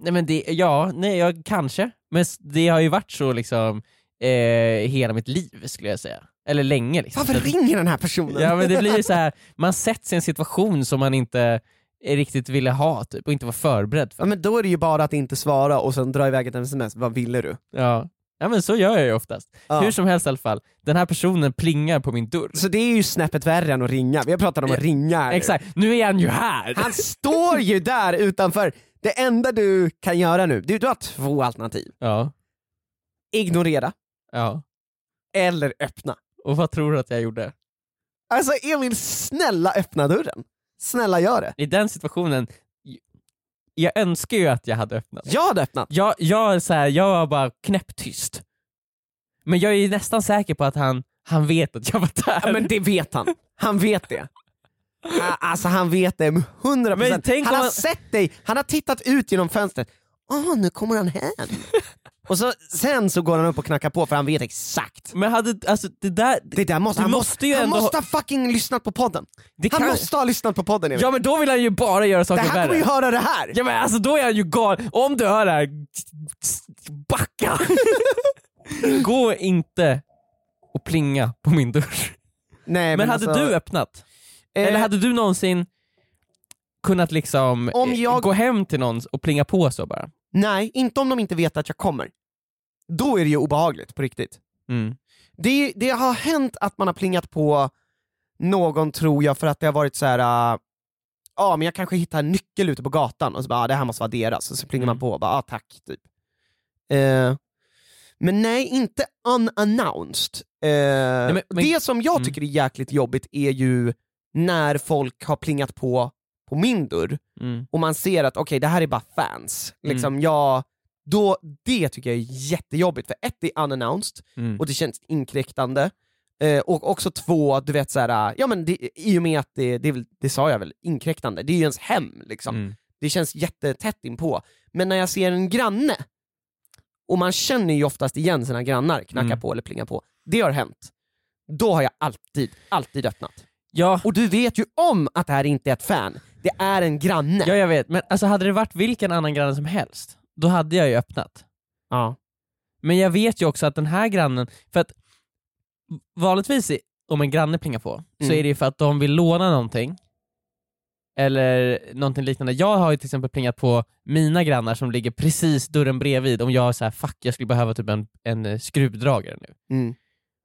S2: Nej men det, ja, nej jag kanske. Men s- det har ju varit så liksom eh, hela mitt liv skulle jag säga. Eller länge liksom.
S3: Varför
S2: Så-
S3: ringer den här personen?
S2: Ja men det blir ju så här. man sätts i en situation som man inte eh, riktigt ville ha typ och inte var förberedd
S3: Ja,
S2: för.
S3: men då är det ju bara att inte svara och sen dra iväg ett sms, vad ville du?
S2: Ja. ja men så gör jag ju oftast.
S3: Ja.
S2: Hur som helst i alla fall, den här personen plingar på min dörr.
S3: Så det är ju snäppet värre än att ringa, vi har pratat om att ringa här nu.
S2: Exakt, nu är han ju här!
S3: Han står ju där utanför, det enda du kan göra nu, du, du har två alternativ.
S2: Ja,
S3: Ignorera
S2: ja.
S3: eller öppna.
S2: Och vad tror du att jag gjorde?
S3: Alltså Emil, snälla öppna dörren. Snälla gör det.
S2: I den situationen, j- jag önskar ju att jag hade öppnat.
S3: Jag hade öppnat.
S2: Jag, jag, är så här, jag var bara knäpptyst. Men jag är nästan säker på att han, han vet att jag var där.
S3: Ja, men det vet han. Han vet det. Ah, Alltså han vet det med 100%.
S2: Men tänk
S3: han
S2: om
S3: har
S2: han-
S3: sett dig, han har tittat ut genom fönstret. Åh, nu kommer han hem. och så, sen så går han upp och knackar på för han vet exakt.
S2: Men hade, alltså det där...
S3: Det där måste,
S2: Du
S3: han,
S2: måste ju
S3: han
S2: ändå
S3: måste ha fucking lyssnat på podden.
S2: det
S3: Han
S2: kan,
S3: måste ha lyssnat på podden Emil.
S2: ja men då vill han ju bara göra
S3: det
S2: saker
S3: här kommer
S2: värre.
S3: ju höra det här.
S2: Ja men alltså då är han ju galen. Om du hör det här, backa! Gå inte och plinga på min dörr.
S3: Nej,
S2: Men, hade
S3: alltså,
S2: du öppnat?
S3: eh,
S2: Eller hade du någonsin kunnat liksom
S3: Om
S2: eh,
S3: jag-
S2: gå hem till någon och plinga på så bara?
S3: Nej, inte om de inte vet att jag kommer. Då är det ju obehagligt på riktigt.
S2: Mm.
S3: Det, det har hänt att man har plingat på någon tror jag för att det har varit så här. äh, ja men jag kanske hittar en nyckel ute på gatan och så bara, ah, det här måste vara deras, och så plingar
S2: Mm.
S3: man på och bara, ah, tack, typ. Eh, men nej, inte unannounced. Eh,
S2: men- men-
S3: det som jag
S2: Mm.
S3: tycker är jäkligt jobbigt är ju när folk har plingat på på min dörr
S2: Mm.
S3: och man ser att okej, det här är bara fans.
S2: Mm.
S3: Liksom, jag, då, det tycker jag är jättejobbigt, för ett, det är unannounced,
S2: Mm.
S3: och det känns inkräktande. Eh, och också två, du vet såhär, ja men det, i och med att det, det, är väl- det sa jag väl, inkräktande, det är ju ens hem liksom.
S2: Mm.
S3: Det känns jättetätt inpå. Men när jag ser en granne, och man känner ju oftast igen sina grannar knacka
S2: Mm.
S3: på eller plinga på, det har hänt. Då har jag alltid, alltid öppnat.
S2: Ja,
S3: Och du vet ju om att det här inte är ett fan, det är en granne.
S2: ja, jag vet. Men alltså hade det varit vilken annan granne som helst, då hade jag ju öppnat.
S3: Ja.
S2: Men jag vet ju också att den här grannen, för att vanligtvis i- om en granne plingar på så
S3: Mm.
S2: är det ju för att de vill låna någonting eller någonting liknande. Jag har ju till exempel plingat på mina grannar som ligger precis dörren bredvid om jag är så här, fuck jag skulle behöva typ en, en eh, skruvdragare nu.
S3: Mm.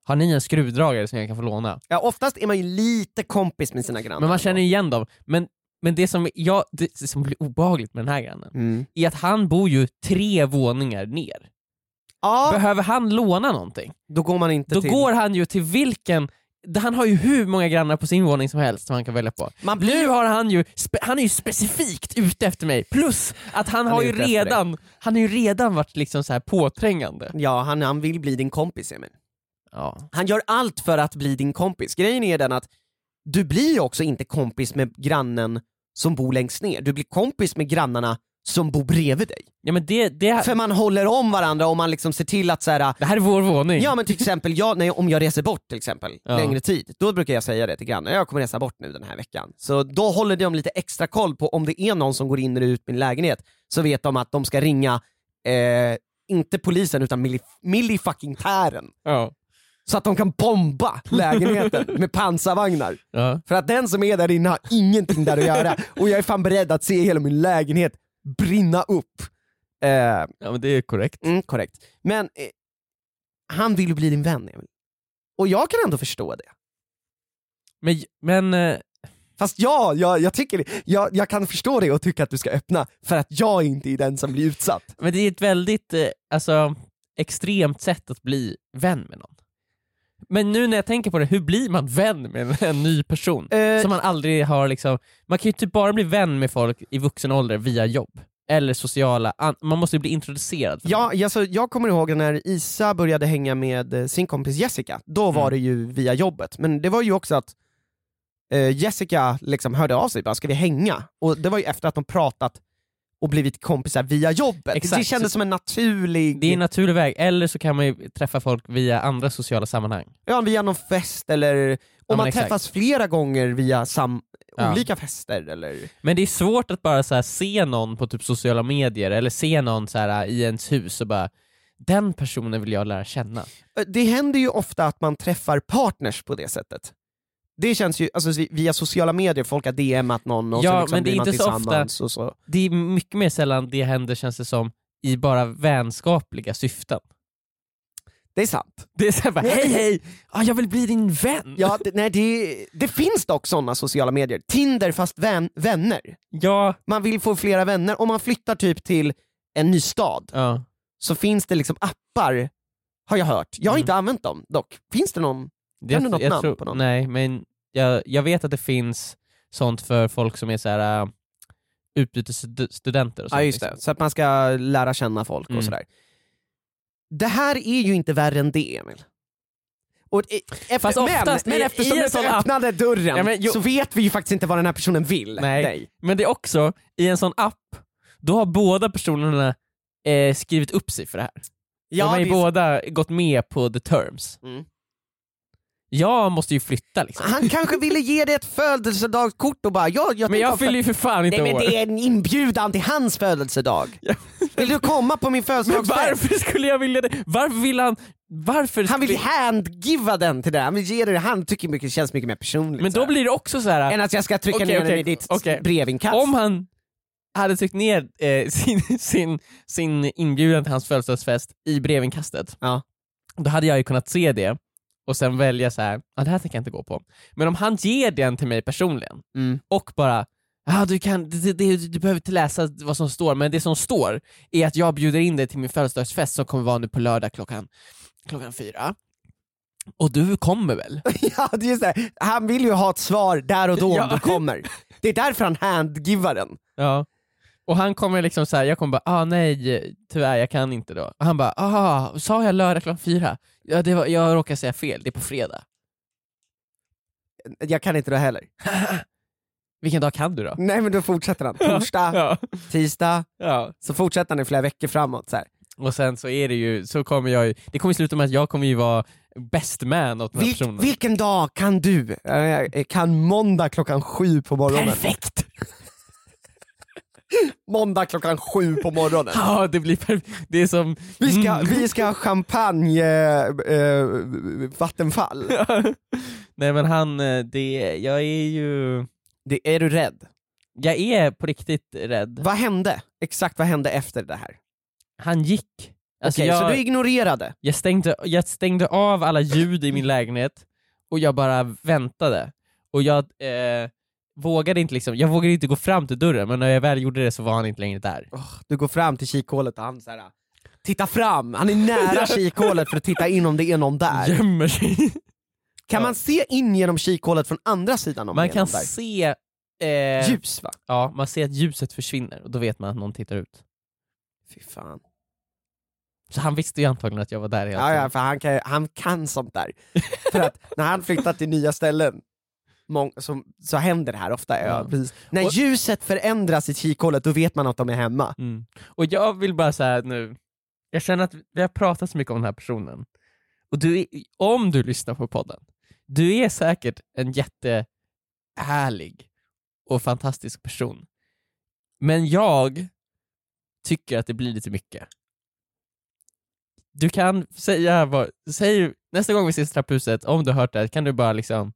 S2: Har ni en skruvdragare som jag kan få låna?
S3: ja, oftast är man ju lite kompis med sina grannar.
S2: Men man känner ju igen dem. Men, men det, som jag, det som blir obehagligt med den här grannen
S3: Mm.
S2: är att han bor ju tre våningar ner.
S3: Ja,
S2: Behöver han låna någonting?
S3: då går man inte
S2: Då
S3: till...
S2: går han ju till vilken han har ju hur många grannar på sin våning som helst som han kan välja på.
S3: Man blir
S2: Nu har han ju, spe, han är ju specifikt ute efter mig, plus att han,
S3: är
S2: har ju
S3: ute efter
S2: redan, han har ju redan varit liksom så här påträngande.
S3: Ja, han, han vill bli din kompis Emil.
S2: Ja.
S3: Han gör allt för att bli din kompis. Grejen är den att du blir ju också inte kompis med grannen som bor längst ner. Du blir kompis med grannarna som bor bredvid dig.
S2: Ja men det, det,
S3: För man håller om varandra och man liksom ser till att så här,
S2: det här är vår våning.
S3: ja men till exempel jag, nej, om jag reser bort till exempel
S2: Ja.
S3: längre tid, då brukar jag säga det till grannen, jag kommer resa bort nu den här veckan. Så då håller de lite extra koll på om det är någon som går in eller ut min lägenhet, så vet de att de ska ringa, eh, inte polisen utan milli- millifucking-tären.
S2: Ja.
S3: så att de kan bomba lägenheten med pansarvagnar.
S2: Ja.
S3: För att den som är där inne har ingenting där att göra och jag är fan beredd att se hela min lägenhet brinna upp. Eh,
S2: ja men det är korrekt.
S3: mm, korrekt. Men eh, han vill ju bli din vän Emil. Och jag kan ändå förstå det.
S2: Men, men eh,
S3: Fast ja, jag, jag, tycker, jag, jag kan förstå det och tycka att du ska öppna för att jag inte är den som blir utsatt.
S2: Men det är ett väldigt eh, alltså, extremt sätt att bli vän med någon. Men nu när jag tänker på det, hur blir man vän med en, en ny person?
S3: Eh,
S2: Som man aldrig har liksom, man kan ju typ bara bli vän med folk i vuxen ålder via jobb. Eller sociala, an- man måste ju bli introducerad. För
S3: Ja, alltså, jag kommer ihåg när Isa började hänga med eh, sin kompis Jessica, då var
S2: Mm.
S3: det ju via jobbet, men det var ju också att eh, Jessica liksom hörde av sig bara, ska vi hänga? Och det var ju efter att de pratat och blivit kompisar via jobbet.
S2: Exakt.
S3: Det kändes som en
S2: någon.
S3: naturlig,
S2: det är en naturlig väg, eller så kan man ju träffa folk via andra sociala sammanhang.
S3: ja, via någon fest eller om
S2: men
S3: man
S2: exakt.
S3: träffas flera gånger via sam-
S2: Ja.
S3: olika fester eller...
S2: Men det är svårt att bara så här, se någon på typ sociala medier, eller se någon så här, eh, i ens hus och bara den personen vill jag lära känna.
S3: Eh, det händer ju ofta att man träffar partners på det sättet. Det känns ju, alltså via sociala medier, folk har DMat någon och så
S2: Ja,
S3: liksom
S2: men det är
S3: blir man
S2: inte så ofta-
S3: tillsammans och så.
S2: det är mycket mer sällan det händer känns det som i bara vänskapliga syften.
S3: Det är sant.
S2: Det är såhär bara hej hej, ah, jag vill bli din vän!
S3: Ja, det, nej, det, det finns dock sådana sociala medier. Tinder fast vän, vänner.
S2: ja.
S3: Man vill få flera vänner. Om man flyttar typ till en ny stad
S2: ja.
S3: så finns det liksom appar, har jag hört. Jag har
S2: Mm.
S3: inte använt dem dock. Finns det någon?
S2: Det,
S3: Kan du något namn på någon?
S2: Nej, men jag, jag vet att det finns sånt för folk som är så här äh, utbytesstudenter och sånt. liksom.
S3: Så att man ska lära känna folk
S2: Mm.
S3: och sådär. Det här är ju inte värre än det Emil. Och, e- efter,
S2: Fast oftast
S3: men,
S2: i-
S3: men
S2: i
S3: eftersom
S2: en
S3: du
S2: sån
S3: inte
S2: app-
S3: öppnade dörren
S2: Ja, men jo-
S3: så vet vi ju faktiskt inte vad den här personen vill
S2: Nej.
S3: dig.
S2: Men det är också, i en sån app, då har båda personerna eh, skrivit upp sig för det här. De har
S3: det
S2: ju
S3: är-
S2: båda gått med på the terms.
S3: Mm.
S2: Jag måste ju flytta liksom.
S3: Han kanske ville ge dig ett födelsedagskort och bara ja, jag
S2: Men
S3: tänker
S2: jag
S3: också-
S2: fyller ju för fan inte
S3: Nej men
S2: år.
S3: det är en inbjudan till hans födelsedag. Vill du komma på min
S2: Men
S3: födelsedagsfest?
S2: varför skulle jag vilja det? Varför vill han... Varför
S3: Han vill
S2: skulle-
S3: handgiva den till dig, han vill ge dig det. Han tycker mycket, känns mycket mer personligt.
S2: Men
S3: så här.
S2: då blir det också så här.
S3: Än att jag ska trycka
S2: Okej,
S3: ner den
S2: okej,
S3: i ditt
S2: okej.
S3: brevinkast.
S2: Om han hade tryckt ner eh, sin, sin, sin inbjudan till hans födelsedagsfest i brevinkastet,
S3: Ja.
S2: då hade jag ju kunnat se det och sen välja så här, ah, det här tänker jag inte gå på. Men om han ger den till mig personligen
S3: Mm.
S2: och bara Ah, du, kan, det, det, du behöver inte läsa vad som står, men det som står är att jag bjuder in dig till min födelsedagsfest som kommer vara nu på lördag klockan, klockan fyra. Och du kommer väl?
S3: Ja, det är just det. Han vill ju ha ett svar där och då om
S2: Ja.
S3: du kommer. Det är därför han handgivar den.
S2: Ja. Och han kommer liksom så här, jag kommer bara, ah nej, tyvärr jag kan inte då. Och han bara, ah, sa jag lördag klockan fyra? Ja, det var, jag råkade säga fel, det är på fredag.
S3: Jag kan inte det heller.
S2: Vilken dag kan du då?
S3: Nej men då fortsätter han. Torsdag,
S2: Ja,
S3: tisdag,
S2: ja.
S3: så fortsätter han i flera veckor framåt. Så här.
S2: Och sen så är det ju, så kommer jag ju, det kommer sluta med att jag kommer ju vara best man åt den här
S3: Vil-
S2: personen.
S3: vilken dag kan du? Eh, Kan måndag klockan sju på morgonen?
S2: Perfekt!
S3: Måndag klockan sju på morgonen.
S2: Ja, det blir perfekt. Det är som...
S3: Vi ska,
S2: Mm.
S3: vi ska ha champagne, eh, eh, vattenfall.
S2: Nej men han, eh, det, jag är ju...
S3: Det, är du rädd?
S2: Jag är på riktigt rädd.
S3: Vad hände? Exakt vad hände efter det här?
S2: Han gick. Alltså,
S3: Okej,
S2: jag...
S3: Så du ignorerade?
S2: Jag stängde, jag stängde av alla ljud i min lägenhet och jag bara väntade. Och jag eh, vågade inte liksom, jag vågade inte gå fram till dörren men när jag väl gjorde det så var han inte längre där.
S3: Du går fram till kikhålet och han så här, tittar fram, han är nära kikhålet för att titta in om det är någon där.
S2: Gömmer sig.
S3: Kan man se in genom kikhålet från andra sidan om
S2: Man
S3: det är någon
S2: kan
S3: där?
S2: se eh,
S3: Ljus va?
S2: ja, man ser att ljuset försvinner och då vet man att någon tittar ut.
S3: Fy fan.
S2: Så han visste ju antagligen att jag var där hela
S3: Ja, ja, för han kan, han kan sånt där. för att när han flyttar till nya ställen mång, så, så händer det här ofta. Ja.
S2: Ja.
S3: precis. När
S2: Och-
S3: ljuset förändras i kikhålet då vet man att de är hemma.
S2: Mm. Och jag vill bara säga nu, jag känner att vi har pratat så mycket om den här personen. Och du är, om du lyssnar på podden, du är säkert en jättehärlig och fantastisk person. Men jag tycker att det blir lite mycket. Du kan säga vad, säg, nästa gång vi ses i trapphuset, om du har hört det här, kan du bara liksom,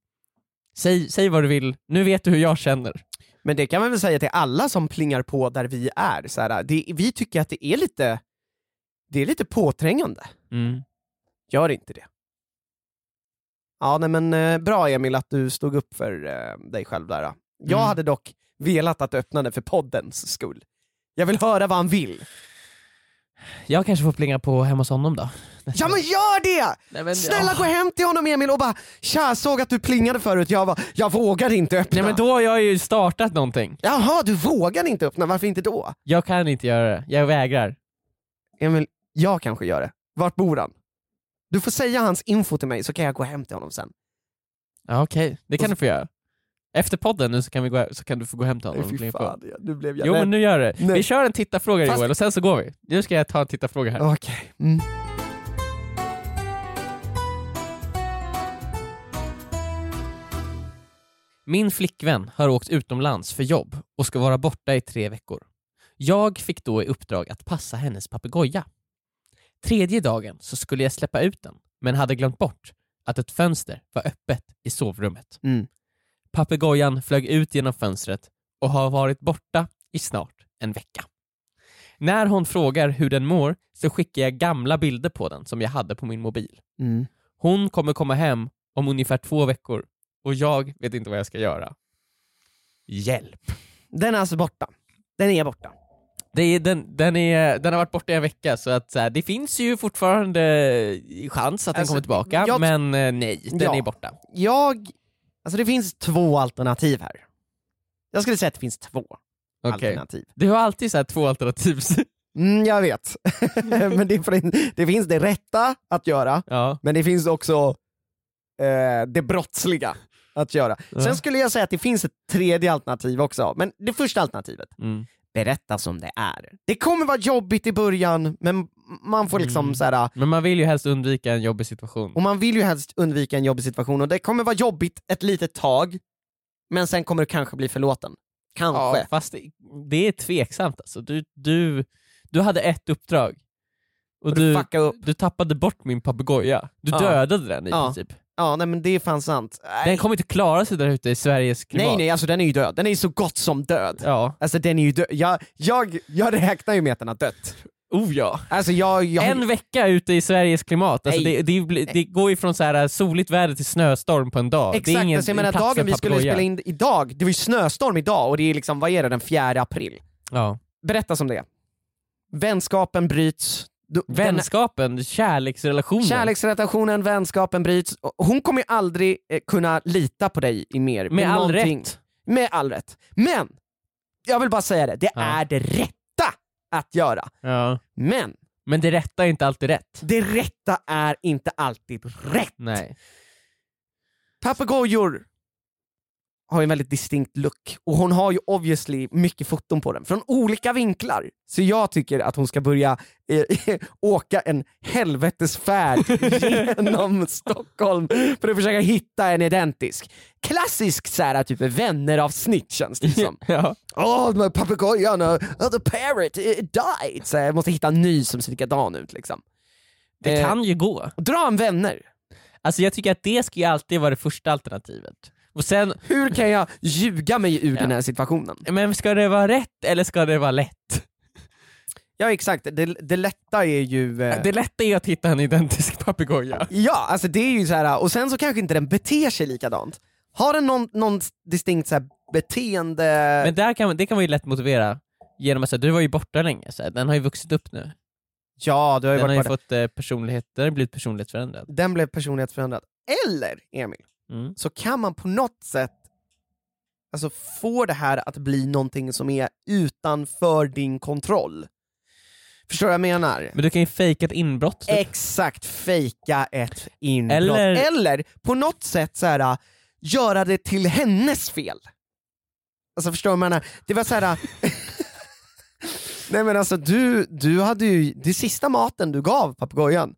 S2: säg, säg vad du vill, nu vet du hur jag känner.
S3: Men det kan man väl säga till alla som plingar på där vi är. Så här, det, vi tycker att det är lite, det är lite påträngande. Gör inte det. Ja, nej men eh, bra Emil att du stod upp för eh, dig själv där. då. Jag
S2: Mm.
S3: hade dock velat att du öppnade för poddens skull. Jag vill höra vad han vill.
S2: Jag kanske får plinga på hemma hos honom då.
S3: Ja men gör det!
S2: Nej, men,
S3: Snälla
S2: åh.
S3: gå hem till honom Emil och bara “Tja, såg att du plingade förut, jag, var, jag vågar inte öppna”.
S2: Nej men då har jag ju startat någonting.
S3: Jaha, du vågar inte öppna, varför inte då?
S2: Jag kan inte göra det, jag vägrar.
S3: Emil, jag kanske gör det. Vart bor han? Du får säga hans info till mig så kan jag gå hem till honom sen.
S2: Ja, Okej, det
S3: Och
S2: kan
S3: så-
S2: du få göra. Efter podden nu så kan, vi gå, så kan du få gå hem till honom. och
S3: Fy
S2: klinga på.
S3: fan, nu blev jag
S2: Jo
S3: rädd.
S2: men nu gör det.
S3: Nej.
S2: Vi kör en tittarfråga
S3: Fast-
S2: Joel och sen så går vi. Nu ska jag ta en tittarfråga här.
S3: Okej. Mm.
S2: Min flickvän har åkt utomlands för jobb och ska vara borta i tre veckor. Jag fick då i uppdrag att passa hennes papegoja. Tredje dagen så skulle jag släppa ut den, men hade glömt bort att ett fönster var öppet i sovrummet.
S3: Mm.
S2: Papegojan flög ut genom fönstret och har varit borta i snart en vecka. När hon frågar hur den mår så skickar jag gamla bilder på den som jag hade på min mobil.
S3: Mm.
S2: Hon kommer komma hem om ungefär två veckor och jag vet inte vad jag ska göra. Hjälp.
S3: Den är alltså borta. Den är borta.
S2: Det är, den, den, är, den har varit borta i en vecka så att så här, det finns ju fortfarande chans att den
S3: Alltså,
S2: kommer tillbaka
S3: jag-
S2: men eh, nej, den
S3: Ja.
S2: är borta.
S3: Jag... Alltså det finns två alternativ här. Jag skulle säga att det finns två
S2: Okej.
S3: alternativ.
S2: Du har alltid så här två alternativ.
S3: Mm, jag vet. men det, fin- det finns det rätta att göra,
S2: ja.
S3: men det finns också eh, det brottsliga att göra.
S2: Ja.
S3: Sen skulle jag säga att det finns ett tredje alternativ också, men det första alternativet,
S2: Mm.
S3: berätta som det är. Det kommer vara jobbigt i början, men man får liksom
S2: Mm.
S3: så här.
S2: Men man vill ju helst undvika en jobbig situation.
S3: och man vill ju helst undvika en jobbig situation och det kommer vara jobbigt ett litet tag, men sen kommer du kanske bli förlåten. Kanske.
S2: Ja, fast det, det är tveksamt alltså. Du, du, Du hade ett uppdrag. Och
S3: Du...
S2: du,
S3: Fucka upp.
S2: du tappade bort min papegoja. Du
S3: Ja.
S2: dödade den i
S3: Ja.
S2: princip.
S3: Ja, nej men det är fan sant. Äh,
S2: Den
S3: Nej,
S2: kommer inte klara sig där ute i Sveriges klimat.
S3: nej, nej, alltså den är ju död. Den är ju så gott som död.
S2: Ja.
S3: Alltså den är ju död. Jag, jag, jag räknar ju med att den har dött.
S2: Oh ja.
S3: Alltså jag... jag
S2: En vecka ute i Sveriges klimat. Alltså
S3: Nej.
S2: det, det, blir- det går ju från så här soligt väder till snöstorm på en dag. det är
S3: Exakt,
S2: ingen,
S3: alltså jag menar
S2: plats för
S3: dagen vi skulle
S2: papegoja.
S3: spela in idag, det var ju snöstorm idag och det är liksom, vad är det, den 4 april?
S2: Ja.
S3: Berätta som det är. Vänskapen bryts. Du- den-
S2: Vänskapen, kärleksrelationen.
S3: Kärleksrelationen, vänskapen bryts. Och Hon kommer ju aldrig eh, kunna lita på dig i mer.
S2: Med
S3: i
S2: all
S3: någonting.
S2: rätt.
S3: Med all rätt. Men, jag vill bara säga det, det
S2: Ja.
S3: är det rätta att göra.
S2: Ja.
S3: Men,
S2: Men det rätta är inte alltid rätt.
S3: det rätta är inte alltid rätt.
S2: Nej.
S3: Papegojor har ju en väldigt distinkt look och hon har ju obviously mycket foton på den från olika vinklar. Så jag tycker att hon ska börja eh, åka en helvetesfärd genom Stockholm för att försöka hitta en identisk. Klassisk så här, typ vänner av snitt känns det som.
S2: Ja.
S3: Åh, oh, papegojan, uh, the parrot, it died. Så jag måste hitta en ny som ser likadan ut liksom.
S2: Det
S3: Eh,
S2: kan ju gå.
S3: Dra en vänner.
S2: Alltså jag tycker att det ska ju alltid vara det första alternativet. Och sen,
S3: Hur kan jag ljuga mig ur den här situationen?
S2: men ska det vara rätt eller ska det vara lätt?
S3: Ja exakt, det, det lätta är ju... eh,
S2: Det lätta är att hitta en identisk papegoja.
S3: Ja, alltså det är ju så här. och sen så kanske inte den beter sig likadant. Har den någon, någon distinkt så här beteende...
S2: Men där kan, man- det kan man ju lätt motivera genom att säga du var ju borta länge, så här, den har ju vuxit upp nu.
S3: ja, du har ju
S2: Den har
S3: varit
S2: ju
S3: borta.
S2: fått eh, personlighet, den har ju blivit personligt förändrad.
S3: Den blev personlighetsförändrad. Eller, Emil,
S2: Mm.
S3: så kan man på något sätt alltså, få det här att bli någonting som är utanför din kontroll. Förstår du vad jag menar?
S2: Men du kan ju fejka ett inbrott.
S3: Eh.
S2: typ.
S3: Exakt, fejka ett inbrott.
S2: Eller-
S3: Eller, på något sätt så här, göra det till hennes fel. Alltså förstår du vad jag menar? Det var så här. Nej men alltså du, du hade ju, det sista maten du gav papegojan,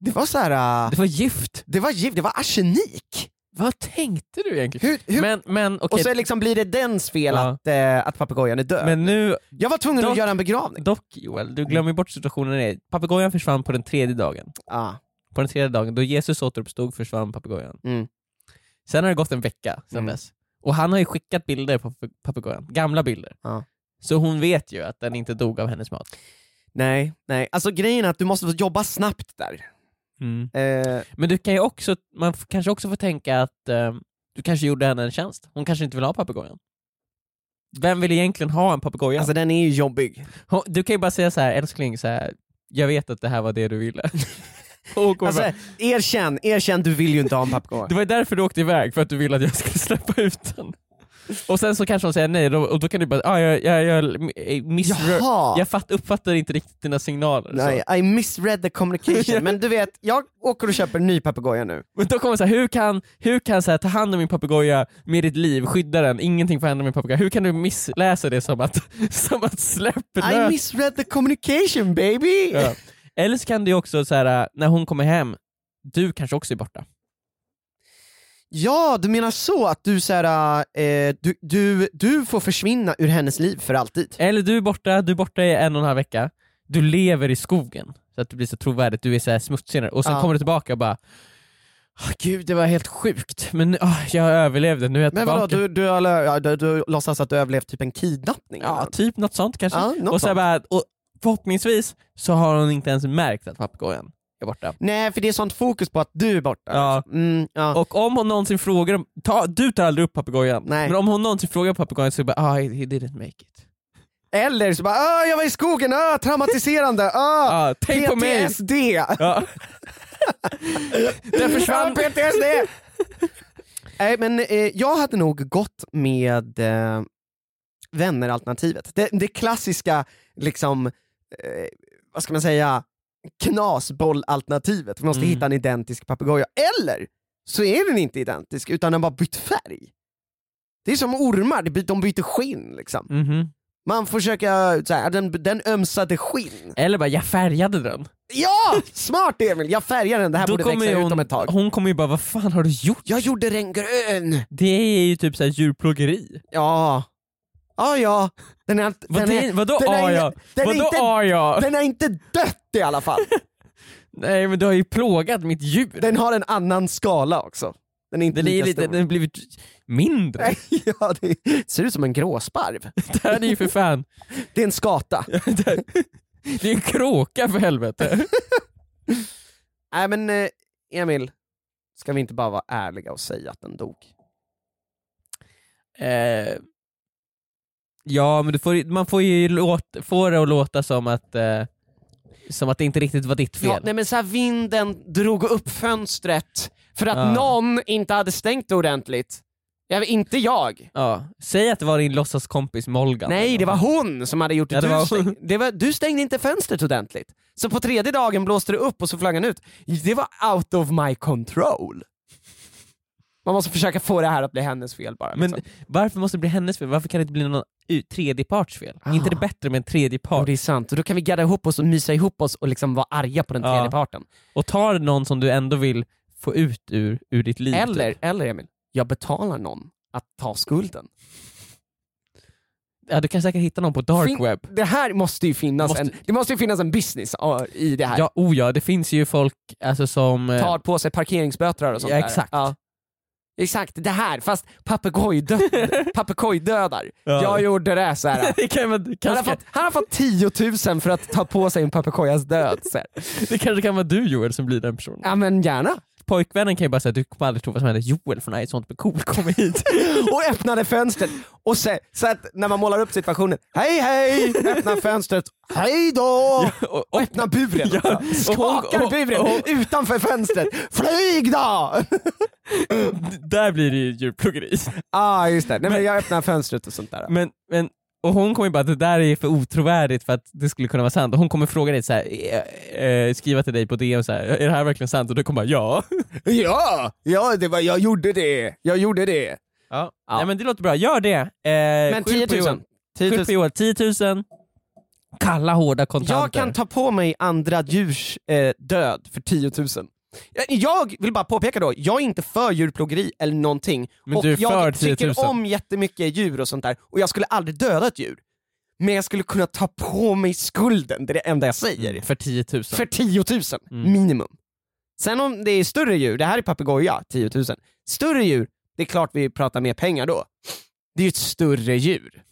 S3: det var så här.
S2: Det var gift!
S3: det var giv, det var arsenik.
S2: Vad tänkte du egentligen?
S3: Hur, hur,
S2: Men, men
S3: och
S2: okej,
S3: så liksom blir det dens fel
S2: Ja.
S3: att, eh, att papegojan är död.
S2: men nu,
S3: jag var tvungen
S2: dock-
S3: att göra en begravning.
S2: dock Joel, du glömmer ju bort situationen är. Papegojan försvann på den tredje dagen.
S3: Ah.
S2: På den tredje dagen, då Jesus återuppstod försvann papegojan.
S3: Mm.
S2: Sen har det gått en vecka sen
S3: Mm.
S2: dess. Och han har ju skickat bilder på pape- papegojan, gamla bilder.
S3: Ja.
S2: Så hon vet ju att den inte dog av hennes mat.
S3: Nej, nej. Alltså grejen är att du måste jobba snabbt där. Eh,
S2: Men du kan ju också, man f- kanske också får tänka att eh, du kanske gjorde henne en tjänst. Hon kanske inte vill ha papegojan. Vem vill egentligen ha en papegoja?
S3: Alltså den är ju jobbig.
S2: Hon- Du kan ju bara säga så här, älskling, så här, jag vet att det här var det du ville. Och hon kommer bara,
S3: Alltså, erkänn, erkänn, du vill ju inte ha en papegoja.
S2: det var ju därför du åkte iväg, för att du ville att jag skulle släppa ut den. Och sen så kanske hon säger nej, då, och då kan du bara, ah, jag, jag, jag, miss
S3: Jaha!
S2: jag fatt, uppfattar inte riktigt dina signaler.
S3: Nej,
S2: Så.
S3: I misread the communication. Men du vet, jag åker och köper en ny papegoja nu.
S2: Men då kommer så här, hur kan, hur kan så här, ta hand om min papegoja med ditt liv, skydda den, ingenting får hända min papegoja. Hur kan du missläsa det som att, som att släpp
S3: I
S2: lös-
S3: misread the communication baby!
S2: Ja. Eller så kan du också så här, när hon kommer hem, du kanske också är borta.
S3: Ja, du menar så att du, så här, eh, du, du, du får försvinna ur hennes liv för alltid?
S2: Eller du är borta, du är borta i en och en halv vecka, du lever i skogen så att det blir så trovärdigt, du är så här smutsigare och sen
S3: Ja.
S2: kommer du tillbaka och bara "Ah, Gud, det var helt sjukt, men ah, jag överlevde, nu är jag
S3: Men
S2: tillbaka.
S3: vadå, du, du, har lö- ja, du, du låtsas att du överlevt typ en kidnappning?
S2: Ja,
S3: eller?
S2: typ något sånt kanske.
S3: ja något
S2: och, så
S3: sånt.
S2: bara, och förhoppningsvis så har hon inte ens märkt att papegojan är borta.
S3: Nej, för det är sånt fokus på att du är borta.
S2: Ja.
S3: Mm, ja.
S2: Och om hon någonsin frågar, om- ta, du tar aldrig upp papegojan,
S3: Nej.
S2: men om hon någonsin frågar papegojan så är det bara ah, he he didn't make it.
S3: Eller så bara "Ah, “jag var i skogen, ah, traumatiserande, ah,
S2: Ah, tänk på mig!
S3: PTSD!”
S2: Ja. Den
S3: Ja,
S2: försvann.
S3: PTSD! Nej men eh, jag hade nog gått med eh, vänner-alternativet. Det, det klassiska, liksom, eh, vad ska man säga, knasboll-alternativet. Vi måste
S2: Mm.
S3: hitta en identisk papegoja. Eller så är den inte identisk utan den bara bytt färg. Det är som ormar, de by- de byter skinn liksom.
S2: Mhm.
S3: Man försöker, så här, den, den ömsade skinn.
S2: Eller bara, jag färgade den.
S3: Ja! Smart Emil, jag färgar den, det här
S2: Då
S3: borde
S2: kommer ju
S3: växa ut
S2: hon-
S3: om ett tag.
S2: Hon kommer ju bara, vad fan har du gjort?
S3: Jag gjorde den grön!
S2: Det är ju typ så här djurplågeri.
S3: Ja. ah, ja, den är,
S2: Vad
S3: den är,
S2: din- vadå
S3: den är-
S2: ah ja?
S3: den är
S2: Vadå
S3: inte-
S2: ah ja?
S3: den är inte dött i alla fall.
S2: Nej men du har ju plågat mitt djur.
S3: Den har en annan skala också. Den är inte
S2: Den är ju
S3: lika
S2: lite,
S3: stor.
S2: den har blivit mindre.
S3: ja, det ser ut som en gråsparv.
S2: Det här är ju för fan,
S3: Det är en skata.
S2: det är en kråka för helvete.
S3: Nej men eh, Emil, ska vi inte bara vara ärliga och säga att den dog?
S2: Eh, ja, men du får, ju- man får ju låt, få det att låta som att, eh, som att det inte riktigt var ditt fel.
S3: Ja, nej men så här, vinden drog upp fönstret för att
S2: Ja.
S3: någon inte hade stängt det ordentligt. Ja, inte jag.
S2: Ja. Säg att det var din låtsaskompis Molgan.
S3: Nej, det var hon som hade gjort det.
S2: Ja, det
S3: du,
S2: var
S3: stäng,
S2: hon.
S3: det var, du stängde inte fönstret ordentligt. Så på tredje dagen blåste det upp och så flög han ut. Det var out of my control. Man måste försöka få det här att bli hennes fel bara.
S2: Men
S3: liksom.
S2: varför måste det bli hennes fel? Varför kan det inte bli någon u- tredjeparts fel?
S3: Ah.
S2: Är inte det bättre med en
S3: Ja,
S2: tredjepart?
S3: det är sant. Och då kan vi gadda ihop oss och mysa ihop oss och liksom vara arga på den
S2: Ja.
S3: tredje parten.
S2: Och tar någon som du ändå vill få ut ur, ur ditt liv.
S3: Eller,
S2: Typ.
S3: eller Emil, jag betalar någon att ta skulden.
S2: Ja, du kan säkert hitta någon på dark
S3: Fin-
S2: web.
S3: Det här måste ju finnas,
S2: Måste-
S3: En, det måste ju finnas en business ja, i det här.
S2: Ja, oh ja, det finns ju folk alltså, som... eh,
S3: Tar på sig parkeringsböter och sånt
S2: Ja,
S3: där.
S2: exakt.
S3: Ja. Exakt, det här, fast papegojdö- papegojdödar.
S2: Ja.
S3: Jag gjorde det så här.
S2: det, kan, man-
S3: Han har,
S2: kanske,
S3: fått, han har fått 10 000 för att ta på sig en papegojas död. Så här.
S2: det kanske kan vara du Joel som blir den personen.
S3: Ja men gärna.
S2: pojkvännen kan ju bara säga du kommer aldrig tro vad som hände, Joel från Ice Sånt med cool kommer hit.
S3: och öppnade fönstret. Och se, så att när man målar upp situationen, hej hej, öppna fönstret, hej då!
S2: och,
S3: Och öppna buren.
S2: Ja,
S3: också. Skakar
S2: och- och-
S3: buren
S2: och-
S3: utanför fönstret, flyg då!
S2: där blir det ju djurplågeri.
S3: ah, just det, Nej, men jag öppnar fönstret och sånt där.
S2: Men, men, och hon kommer ju bara, det där är för otrovärdigt för att det skulle kunna vara sant. Och hon kommer fråga dig så här, eh, eh, skriva till dig på DM så här, är det här verkligen sant? Och du kommer bara ja.
S3: Ja, ja det var, jag gjorde det, jag gjorde det.
S2: ja. Nej, men det låter bra, gör det. Eh,
S3: Men 10
S2: På
S3: 000.
S2: Joel. Skyll på Joel, 10 000. Kalla hårda kontanter.
S3: Jag kan ta på mig andra djurs eh, död för 10 000. Jag- Jag vill bara påpeka då, jag är inte för djurplågeri eller någonting.
S2: Men
S3: och
S2: du är för
S3: jag
S2: 10 000.
S3: tycker om jättemycket djur och sånt där och jag skulle aldrig döda ett djur. Men jag skulle kunna ta på mig skulden, det är det enda jag säger.
S2: Mm, för 10 000.
S3: För 10 000
S2: Mm.
S3: minimum. Sen om det är större djur, det här är papegoja, 10 000. Större djur, det är klart vi pratar mer pengar då. Det är ju ett större djur.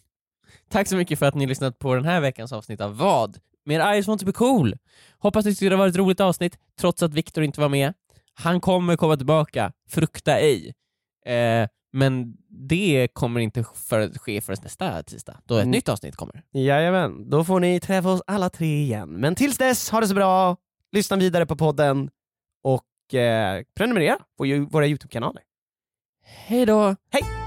S2: Tack så mycket för att ni har lyssnat på den här veckans avsnitt av Vad? Med I just want to be cool. Hoppas ni tyckte det var ett roligt avsnitt, trots att Viktor inte var med. Han kommer komma tillbaka, frukta ej. Eh, men det kommer inte för, ske förrän nästa tisdag, då ett
S3: Mm.
S2: nytt avsnitt kommer.
S3: Jajamän, då får ni träffa oss alla tre igen. Men tills dess, ha det så bra, lyssna vidare på podden och eh, prenumerera på ju- våra YouTube-kanaler.
S2: Hej då!
S3: Hej!